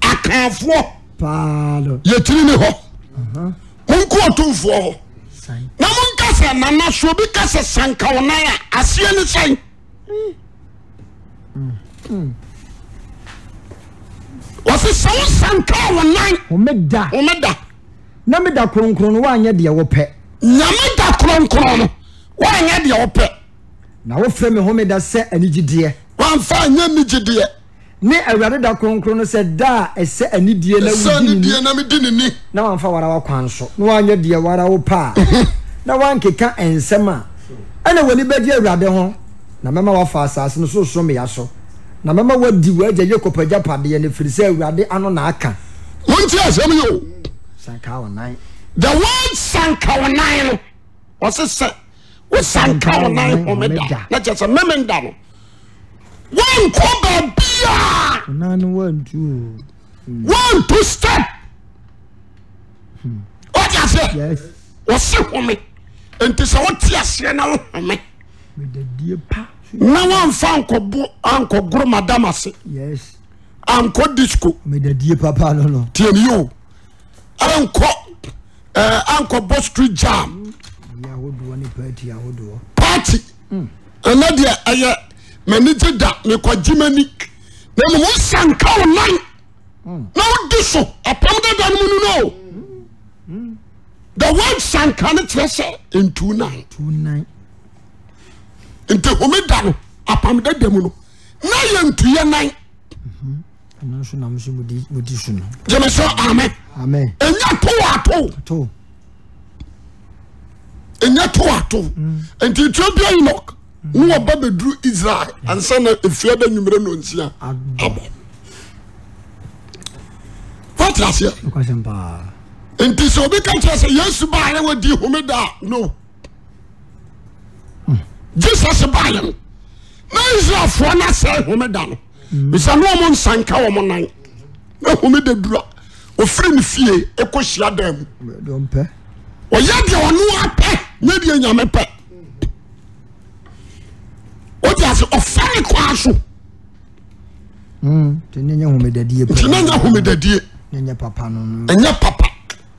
Speaker 2: akaafoɔ
Speaker 1: paa no
Speaker 2: yɛkyiri ne hɔ monko ɔtomfoɔ hɔ
Speaker 1: san
Speaker 2: na monka sɛ nana so obi ka sɛ sankawonan a aseɛ ne sɛn wɔse sɛ wo sankawonan
Speaker 1: homeda
Speaker 2: homeda
Speaker 1: na meda kronkron no woanyɛ deɛ wopɛ
Speaker 2: nyame da kronkron no woanyɛ deɛ wopɛ
Speaker 1: na wofrɛ me homeda sɛ anigyedeɛ
Speaker 2: woamfa anyɛ nigyedeɛ
Speaker 1: ne awurade da kronkron no sɛ da a ɛsɛ anidie na
Speaker 2: sɛ ne
Speaker 1: wodi ne
Speaker 2: deɛ na medi ne ni
Speaker 1: na wamfa wara wakwan so na wanyɛ deɛ wara wo pɛ a na wankeka nsɛm a ɛna w'ani bɛgye awurade ho na mɛma wafa asase no sorosorommea so na mɛma woadi w'agya yakob agyapadeɛ no firi sɛ awurade ano na aka
Speaker 2: wonti asɛm yi o
Speaker 1: sankaa ɔnan
Speaker 2: the word sanka wo nan no ɔse sɛ wo sanka wo nan homeda na kyɛ sɛ memenda no woankɔ baabia
Speaker 1: ɔnan no wantu
Speaker 2: woanto step wode aseɛ
Speaker 1: yes
Speaker 2: wɔse home enti sɛ wote aseɛ na wo home
Speaker 1: medadie pa
Speaker 2: na woamfa ankɔbo ankɔgoro madam ase
Speaker 1: yes
Speaker 2: ankɔ disco
Speaker 1: medadie papa no no
Speaker 2: tianyi o ankɔ ɛɛ ankɔbɔ street jam
Speaker 1: yɛ ahodoɔ ne paati ahodoɔ
Speaker 2: party ɛnna deɛ ɛyɛ mɛni gye da mɛkɔ gyimani na mu mu sanka o nan na o di so apam dada no mu no no the word sanka no kyerɛ sɛ ntu nan
Speaker 1: tu nan
Speaker 2: nti homi da no apam dada mu no na yɛ ntuyɛ nan
Speaker 1: ɛno nso nam so modi so no
Speaker 2: gyeme sɛ amɛ
Speaker 1: amen
Speaker 2: ɛnya to wɔ ato
Speaker 1: to
Speaker 2: ɛnyɛ to ato nti ethiopia enoch ne wɔba bɛduru israel ansa na efia da nwummerɛ na onsia
Speaker 1: abɔ
Speaker 2: abɔ wate aseɛ
Speaker 1: nokwasɛm paa
Speaker 2: nti sɛ obi ka kyerɛ sɛ yesu baayɛ wadi homeda a no jesus baayɛ no na israelfoɔ no asɛe homeda no bisa ne ɔmo nsanka wɔ mo nan na homeda dura ofiri ne fie ɛkɔ hyia dan mu
Speaker 1: dɔmpɛ
Speaker 2: ɔyɛ deɛ ɔno apɛ ne deɛ nyame pɛ wode ase ɔfa ne kwaa so
Speaker 1: nti ne nyɛ homedadie
Speaker 2: nti
Speaker 1: pa
Speaker 2: na nya homedadie
Speaker 1: ne nyɛ papa no no
Speaker 2: ɛnyɛ papa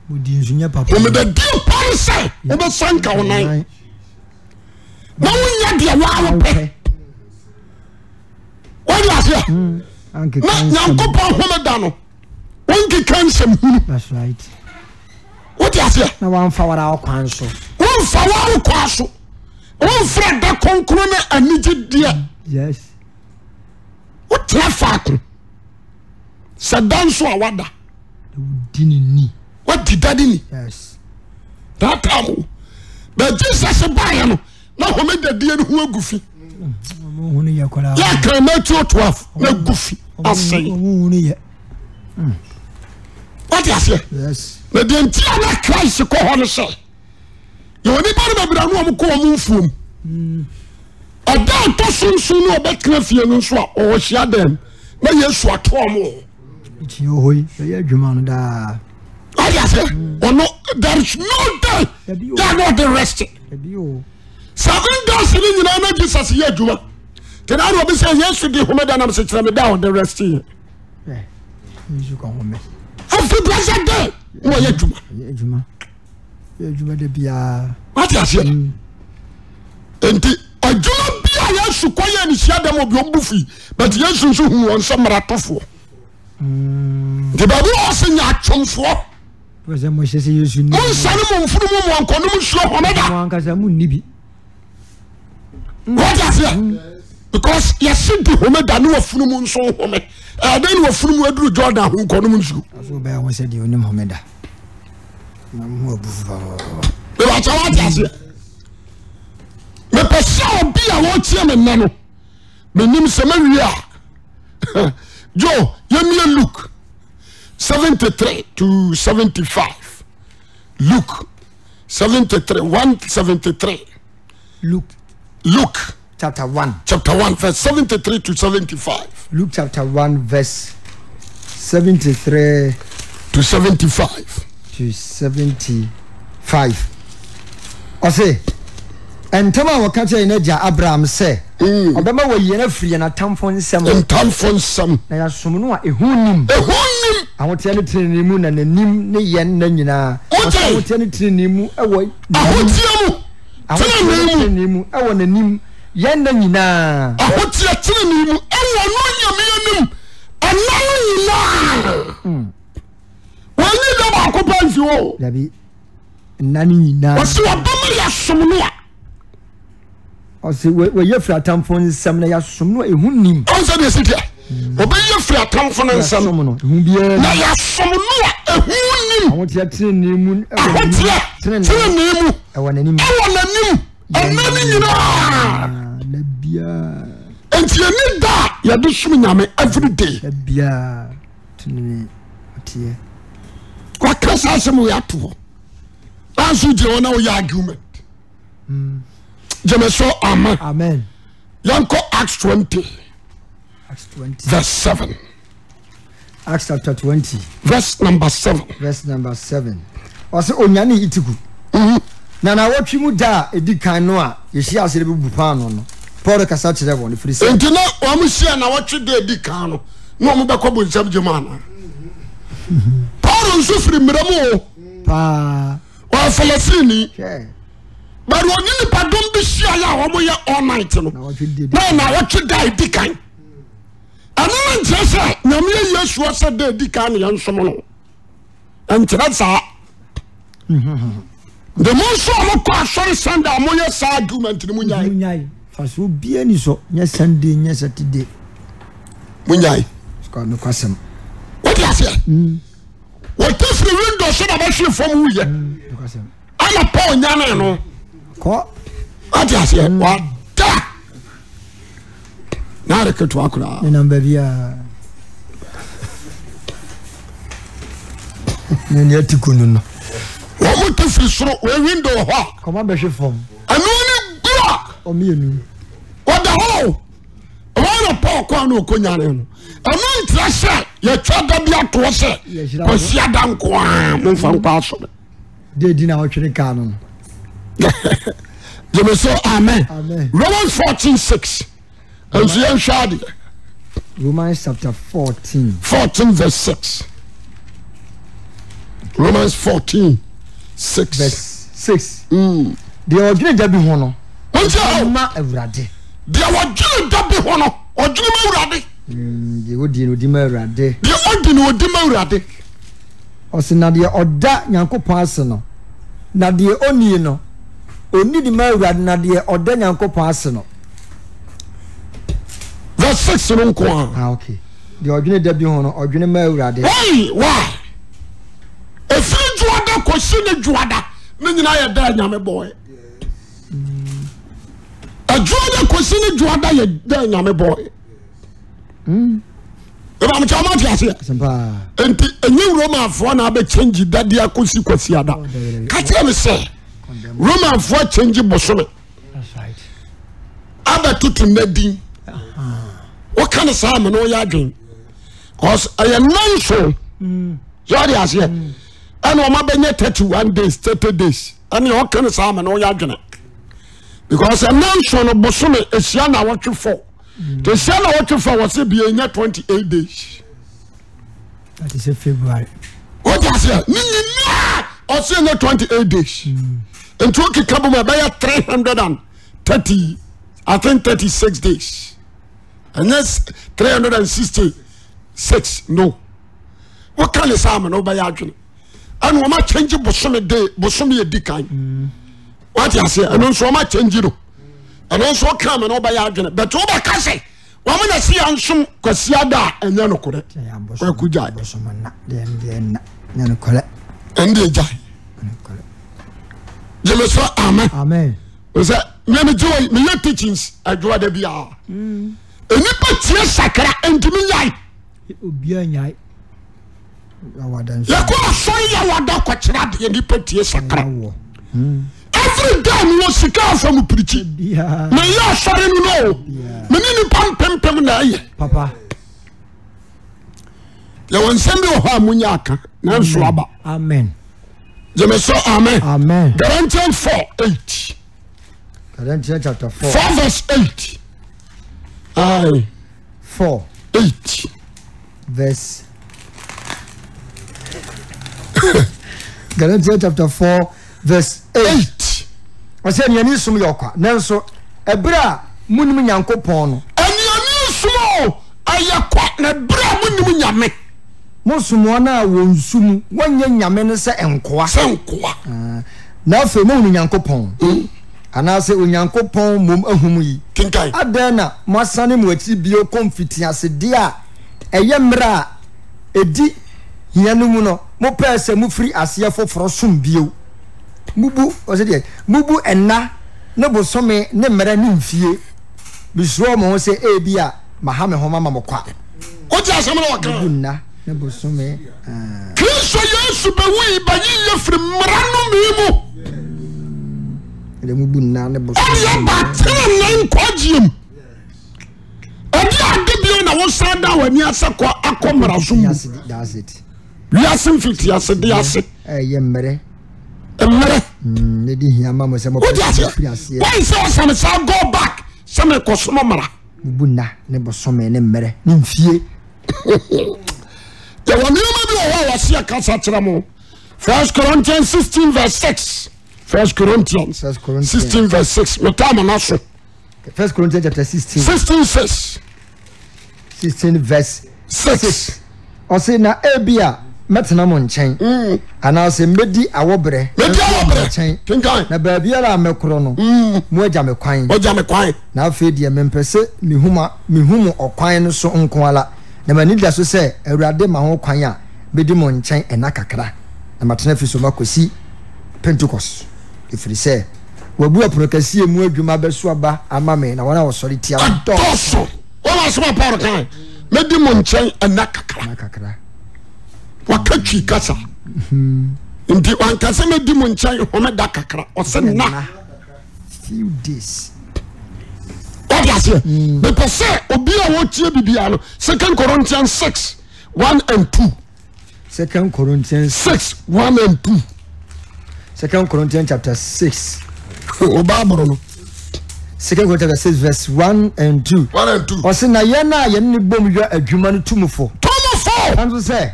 Speaker 1: modi nso nyɛ papa
Speaker 2: homedadie pa ne sɛ wobɛsanka wo nan na wonyɛ deɛ waa wo pɛ
Speaker 1: wopɛ
Speaker 2: wode aseɛ na
Speaker 1: ankeka
Speaker 2: nyankopɔn homeda no wonkeka nsɛm hunu
Speaker 1: that's right
Speaker 2: wode aseɛ
Speaker 1: na wamfa wara wo kwan so
Speaker 2: womfa waa wo kwaa so womfrɛ da konkro ne anigye deɛ
Speaker 1: yes
Speaker 2: wotena faako sɛ da nso a wada
Speaker 1: na wodi ne ni
Speaker 2: wadi dade ni
Speaker 1: yes
Speaker 2: that time na jesus baayɛ no na home dadie no ho agu fi
Speaker 1: ɔmohunu yɛ koraa
Speaker 2: yɛkra matthew 12 na gu fi asɛe
Speaker 1: ɔmohunu yɛ
Speaker 2: wode aseɛ
Speaker 1: yes
Speaker 2: na deɛ nti a na christ kɔ hɔ no sɛ yɛwɔ nipa no babra no ɔm kɔ ɔmo mfuom ɔda a ɔtɔ so nson no a ɔbɛtena fie no nso a ɔwɔ hyia dɛm na yesu ato ɔmo
Speaker 1: ɛkyiɛ hɔ yi bɛyɛ adwuma no daa
Speaker 2: wode aseɛ ɔno there is no day
Speaker 1: Dabi o.
Speaker 2: that no de rested
Speaker 1: ɛbi o
Speaker 2: seven days ne nyinaa na jesus yɛ adwuma nti na ne ɔbɛsɛ yesu de homeda nam sekyerɛ me da a ɔde rest yɛ
Speaker 1: ɛ Eh. yesu ka home
Speaker 2: afi brɛsɛ da ne ɔyɛ adwuma
Speaker 1: ɛyɛ adwuma ɛyɛ adwuma da biaa
Speaker 2: wate aseɛ enti adwuma bi a yesu kɔyɛ ne hyia dɛm obi ɔmbu fii but yesu nso hu wɔn sɛ mmaratofoɔ nti baabi wɔ se nya atwomfoɔ
Speaker 1: wɛ sɛ mohyɛ sɛ yesu ni
Speaker 2: monsane mo mfunu mu mɔnkɔ no msuo homeda
Speaker 1: mo ankasa monni bi
Speaker 2: wate aseɛ because yɛse de homeda ne wafunu mu nso home ɛdɛn ne wafunu mu aduru jordan ho nkɔ no mu nsuo
Speaker 1: so wobɛyɛ ho sɛdeɛ onim homeda na moho abufu paa
Speaker 2: mebakyɛ woate aseɛ mepɛ sɛ obi a wɔkyerɛ me nna no menim sɛ mawie a jo yɛmie luke 73 to 75 luke 73 173
Speaker 1: luke
Speaker 2: luke
Speaker 1: chapter 1
Speaker 2: chapter 1 verse 73 to 75
Speaker 1: luke chapter 1 verse 73
Speaker 2: to 75
Speaker 1: to 75 ɔse ɛntɛm a wɔka kyerɛ yɛn agya abraham sɛ
Speaker 2: Mm.
Speaker 1: ɔbɛma wɔyi yɛn afiri yɛn atamfo nsɛm
Speaker 2: Hmm.
Speaker 1: mu,
Speaker 2: ntamfo nsɛm
Speaker 1: na yɛasom no a ɛho nim
Speaker 2: ɛho nim
Speaker 1: ahoteɛ no tenene mu na n'anim ne yɛn nna nyinaa
Speaker 2: Wote!
Speaker 1: Ɔse ahoteɛ no tenene mu ɛwɔ
Speaker 2: ahoteɛ mu tenenee mu
Speaker 1: tenene mu ɛwɔ n'anim yɛn nna nyinaa
Speaker 2: ahoteɛ tenenee mu ɛwɔ no nyameɛ nim ɛna no nyinaa wɔani da baako pa mfi hɔ o
Speaker 1: dabi nna no nyinaa
Speaker 2: ɔsɛ wɔbɛma yɛsom no a
Speaker 1: ɔse wɔ- wɔyi afiri atamfo nsɛm na yɛasom no a ɛho nim
Speaker 2: ɔn sɛ deɛ sitia wɔbɛyɛ firi atamfo no nsɛm
Speaker 1: yɛasom no ɛho biara
Speaker 2: na yɛsom no a ɛho nim
Speaker 1: ahoteɛ tenene mu ɛwɔ n'anim
Speaker 2: ahoteɛ
Speaker 1: tenenee Ah
Speaker 2: tenenee mu
Speaker 1: ɛwɔ n'anim
Speaker 2: ɛwɔ n'anim ɛna ne nyinaa
Speaker 1: na biara
Speaker 2: nti yɛni da a yɛde som nyame everyday
Speaker 1: na biara tumi ɔteɛ
Speaker 2: wakra saa asɛm wei ato hɔ anso gyina hɔ na woyɛ argument gyeme so ama
Speaker 1: amen
Speaker 2: yɛnkɔ acts 20
Speaker 1: acts twenty
Speaker 2: verse 7
Speaker 1: acts chapter twenty
Speaker 2: verse number 7
Speaker 1: verse number seven ɔsɛ onyane itiku
Speaker 2: Mhm.
Speaker 1: na na wɔtwi mu da a ɛdi kan no a yɛhyia ase de bubu paano no paul kasa kyerɛ wɔn ɛfiri sɛ
Speaker 2: enti na ɔmo hyia na wɔtwe da adi kan no na ɔmo bɛkɔ bonsam gyema anaa paulo nso firi mmerɛ mu o
Speaker 1: paa
Speaker 2: ɔyɛ falasini
Speaker 1: hwɛ
Speaker 2: but ɔnye nipadɔm bi hyiaeɛ a wɔmoyɛ all night no
Speaker 1: na wɔtwi di di
Speaker 2: na na wɔtwe da adi kan ɛno no nkyerɛ sɛ nyame ayi asuɔ sɛ da adi kan ne yɛnsom no ɛnkyerɛ saa de mo nso a mokɔ asɔre sanda a moyɛ saa argument no
Speaker 1: mu
Speaker 2: monyae
Speaker 1: nyae faso bia ni sɔ nyɛ sunday nyɛ saturday
Speaker 2: monyae
Speaker 1: sukuu ano kwasɛm
Speaker 2: wode aseɛ wɔte firi window so na bɛhwee fam woyɛ
Speaker 1: ano kwasɛm
Speaker 2: ana paul nyane no
Speaker 1: kɔ
Speaker 2: wode aseɛ wada na areketewa koraa
Speaker 1: ne namba biara ne ne atiku no no
Speaker 2: wɔn te firi soro wɔn window wɔ hɔ
Speaker 1: kɔma bɛhwe fam
Speaker 2: a ɛnu ni gura
Speaker 1: ɔmienu
Speaker 2: wɔda hɔ o wɔn na paul kwan na ɔkɔ nyane no ɛnu ntira sɛ yɛtwa da bi atoɔ sɛ
Speaker 1: Yɛhyira wo.
Speaker 2: kɔsia da nkoa mo nfa nkɔ asɔrɔ
Speaker 1: de di na ɔtwere kaa no no
Speaker 2: jɛmɛ sɛ amen
Speaker 1: Amen.
Speaker 2: romans fourteen six nso yɛn hwɛ adeɛ
Speaker 1: romans chapter fourteen
Speaker 2: fourteen verse six romans fourteen six Mm.
Speaker 1: verse six deɛ ɔdwene da bi ho no
Speaker 2: wɔn ti hɔ
Speaker 1: ma awurade
Speaker 2: deɛ wɔdwene da bi hɔ no ɔdwene mu awurade
Speaker 1: Mm, deɛ wodie no odi ma awurade
Speaker 2: deɛ ɔdi ni ɔdi mu awurade.
Speaker 1: ɔse na deɛ ɔda nyankopɔn ase no na deɛ ɔnie no ɔni de ma awurade na deɛ ɔda nyankopɔn ase no
Speaker 2: verse six no nko a
Speaker 1: ah, okay. deɛ ɔdwene da bi ho no ɔdwene ma awurade
Speaker 2: wai wai efiri juada kɔsi ne juada ne nyinaa yɛ da nyame bɔɛ ajuada kɔsi ne juada yɛ da nyame bɔɛ ebamu kyɛw ma ti aseɛ
Speaker 1: Asɛm paa
Speaker 2: nti enyi romanfoɔ na abɛ kyɛnji dadeɛ akɔsi kɔsi ada kakyɛ mi sɛ romanfoɔ kyɛnji bosome abɛ tutu ne din wɔka ne saa mɛ na ɔyɛ adwene cause ɛyɛ nan eh, so yɛde aseɛ ɛna ɔma bɛnyɛ thirty one days thirty days ɛna ɔka ne saa mɛ na ɔyɛ adwene because ɛnan so no bosome ehyia na wɔtwe fɔ te ehyia na wɔtwe fɔ wɔsi bie nyɛ twenty eight days
Speaker 1: ate sɛ february
Speaker 2: wɔde aseɛ ne nyinaa ɔsi nyɛ twenty eight days nti o kika bɔ mu ɛbɛyɛ three hundred and thirty i think thirty six days ɛnyɛ three hundred and sixty six no wɔka ne saa ama na wɔbɛyɛ adwene ɛna wɔn akyɛngye bosome de bosome yɛ di kan wɔate aseɛ ɛno nso wɔn akyɛngye no ɛno nso wɔka ama na wɔbɛyɛ adwene bɛtɛ wɔbɛka sɛ wɔn na si yɛn nsom kwasia da a ɛnyɛ no korɛ Waku gyae.
Speaker 1: na deɛ no deɛ nna nyɛ nokorɛ
Speaker 2: ɛnde gya
Speaker 1: nokorɛ
Speaker 2: gyeme so amen
Speaker 1: amen
Speaker 2: sɛ memegye wɔ meyɛ teachings adwoa da biaa
Speaker 1: Mm.
Speaker 2: ɛnipa tie sakra ɛntimi yae
Speaker 1: obiaa nyae awada
Speaker 2: yɛkɔ asɔre yɛ wɔda kɔkyerɛ adeɛ nipa tie sakra
Speaker 1: nsoawɔ
Speaker 2: everyda mewɔ sika afa mu pirikyi
Speaker 1: biaa
Speaker 2: meyɛ asɔre no no o mene nipa mpempem na ɛyɛ
Speaker 1: papa
Speaker 2: yɛwɔ nsɛm bi wɔ hɔ a monyɛ aka nanso aba
Speaker 1: amen
Speaker 2: gyeme so amen
Speaker 1: amen
Speaker 2: garantian 4 8
Speaker 1: corinthians chapter four
Speaker 2: 4 vs 8 ai
Speaker 1: four
Speaker 2: 8
Speaker 1: verse Galatians chapter four verse eight
Speaker 2: 8
Speaker 1: ɔsɛ nea ne som yɛ ɔkwa nanso ɛberɛ a munim nyankopɔn no
Speaker 2: anuane nsom o ɛyɛ kwa na berɛ a monim nyame
Speaker 1: mosom wɔn a wɔn nsu mu wɔnyɛ nyame no sɛ nkoa
Speaker 2: sɛ nkoa
Speaker 1: Ah, na afei mohu
Speaker 2: Hmm?
Speaker 1: nyankopɔn anaasɛ onyankopɔn mmom ahum yi
Speaker 2: kenkan
Speaker 1: adɛn na moasane mo akyi bio kɔ mfitiasedeɛ a ɛyɛ mmerɛ a ɛdi hia no mu no mopɛɛ sɛ mofiri aseɛ foforɔ som bio mubu ɔsɛ deɛ mubu ɛna ne bosome ne mmerɛ ne mfie mesuro mo ho sɛ ebi a maha me ho mama mo kwa
Speaker 2: wogye asɛm no wɔka
Speaker 1: nna ne bosome ah,
Speaker 2: kristo yesu bɛwui bɛyiyɛ firi mmara nomee mu
Speaker 1: ɛdeɛ mubu nna ne
Speaker 2: ɔde
Speaker 1: bosome
Speaker 2: aba tenene nkwagyeɛm ɔde ade bio na wosan da w'ani asɛ kɔ akɔ mmara so mu
Speaker 1: Yes, that's it
Speaker 2: wiase mfitiasede ase
Speaker 1: ɛyɛ mmerɛ
Speaker 2: mmerɛ
Speaker 1: mm, ne di hia ma mo sɛ
Speaker 2: wode aseɛ
Speaker 1: mopiri aseɛ
Speaker 2: wɔn sɛ ɔsane saa go back sɛ mekɔsoma mmara
Speaker 1: mubu nna ne bosome ne mmerɛ ne mfie
Speaker 2: yɛwɔ nneɛma bi wɔ hɔ a wɔse akasa kyerɛ mo first corinthians 16 verse 6 first corinthians
Speaker 1: First Corinthians.
Speaker 2: 16 verse 6 metaa mana so
Speaker 1: first corinthians chapter sixteen
Speaker 2: 16 6
Speaker 1: sixteen verse
Speaker 2: 6
Speaker 1: ɔse na ebi a mɛtena mo nkyɛn
Speaker 2: Mm.
Speaker 1: anaasɛ mbɛdi awɔberɛ
Speaker 2: mɛdi awɔ
Speaker 1: mo
Speaker 2: berɛ kenkan
Speaker 1: na baabiara a mɛkorɔ no mo agya me kwan
Speaker 2: ɔgya me kwan
Speaker 1: na afei deɛ mempɛ sɛ mehuma mehumu ɔkwan no so nko ala na m'ani da so sɛ awurade ma ho kwan a bɛdi mo nkyɛn ɛna kakra na matena fi so makɔsi pentecost ɛfiri sɛ wabu apono kɛseɛ mu adwuma bɛso aba ama me na wɔn a wɔsɔre tia me dɔɔso
Speaker 2: adɔso wɔn asoma paul kan mɛdi mo nkyɛn ɛna kakra
Speaker 1: na kakra
Speaker 2: waka twi kasa Hmm. nti wankasa mɛdi mo nkyɛn homeda kakra ɔsɛ na
Speaker 1: ɛna few days
Speaker 2: ɔde aseɛ mepɛ sɛ obi a wɔtie bibia no second corinthians 6 1 and 2
Speaker 1: second corinthians
Speaker 2: 6 1 and 2
Speaker 1: second corinthians chapter six
Speaker 2: ɔba borɔ no
Speaker 1: second corinthians chapter six verse one and two
Speaker 2: 1 and 2
Speaker 1: ɔsi na yɛn a yɛn ne bom yɛ adwuma no tumufo
Speaker 2: tomofo
Speaker 1: nanso sɛ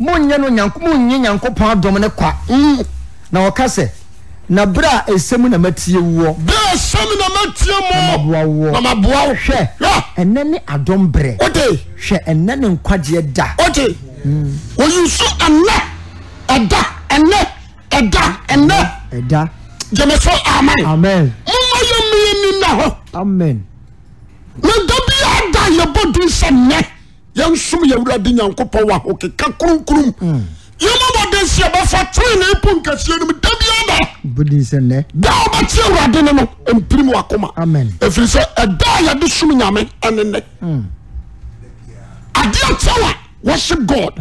Speaker 1: monyɛ no nyanko monnye nyankopɔn adɔm ne kwa
Speaker 2: Hmm.
Speaker 1: na ɔka sɛ na berɛ a ɛsɛ mu na matie woɔ
Speaker 2: bɛɛ sɛm na matie mo
Speaker 1: aboa
Speaker 2: na
Speaker 1: woɔ
Speaker 2: maboa wo
Speaker 1: Hwɛ.
Speaker 2: hwɛ
Speaker 1: ɛnɛ ne adɔm berɛ
Speaker 2: wode
Speaker 1: hwɛ ɛnɛ ne nkwagyeɛ da
Speaker 2: ɔte ɔyinso ɛnɛ ɛda ɛnɛ ɛda ɛnɛ
Speaker 1: ɛda
Speaker 2: gyemɛso aman
Speaker 1: amen
Speaker 2: moma yɛ mmea ni na hɔ
Speaker 1: amen
Speaker 2: na da bi ada yɛbɔ din sɛ nnɛ yɛnsom yɛwurade nyankopɔn wɔ ahokeka kronkrom yɛma bɔden sɛ yɛbɛfa terene po nkɛseɛ no mu da bi ada
Speaker 1: bodi sɛ nnɛ
Speaker 2: da a wobɛte awurade no no mpirim wakoma
Speaker 1: Amen.
Speaker 2: ɛfiri sɛ ɛda a yɛde som nyame ɛne nnɛ adeɛ kyɛw a wɔhyɛ god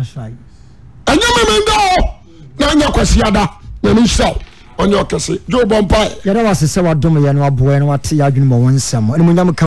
Speaker 2: ɛnyɛ meme nda hɔ na ɛnyɛ kwasiada na ne nhyira wo ɔnyɛ ɔkɛse dwoobɔ mpae
Speaker 1: yɛda wase sɛ wadom yɛ no aboɛ no wate yɛ adwene ma wɔ nsɛm ɛne munyam ka